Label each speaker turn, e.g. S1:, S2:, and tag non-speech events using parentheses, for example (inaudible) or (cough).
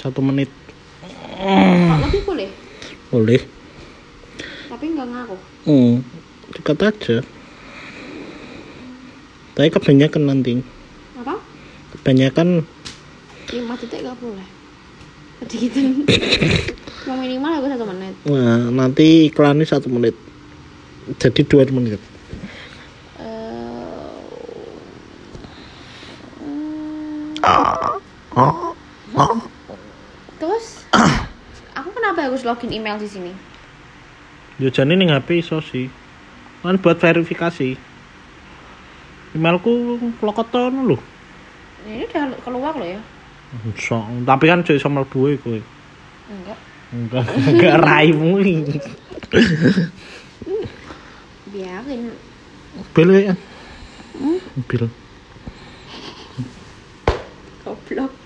S1: satu menit
S2: Pak lebih boleh
S1: boleh
S2: tapi nggak ngaruh
S1: hmm dekat aja tapi kebanyakan nanti
S2: apa
S1: kebanyakan
S2: lima detik nggak boleh sedikitan mau minimal aku satu menit
S1: nah, nanti iklannya satu menit jadi dua menit
S2: Eh,
S1: Ah.
S2: terus aku kenapa harus login email di sini
S1: Yojani Ya, ning HP iso sih. Kan buat verifikasi. Emailku klokoton lho.
S2: ini udah keluar loh ya
S1: So, tapi kan jadi sama dua kowe.
S2: enggak
S1: Enggak (laughs) enggak raimu. iki.
S2: biarin
S1: Bil ya. Bil.
S2: goblok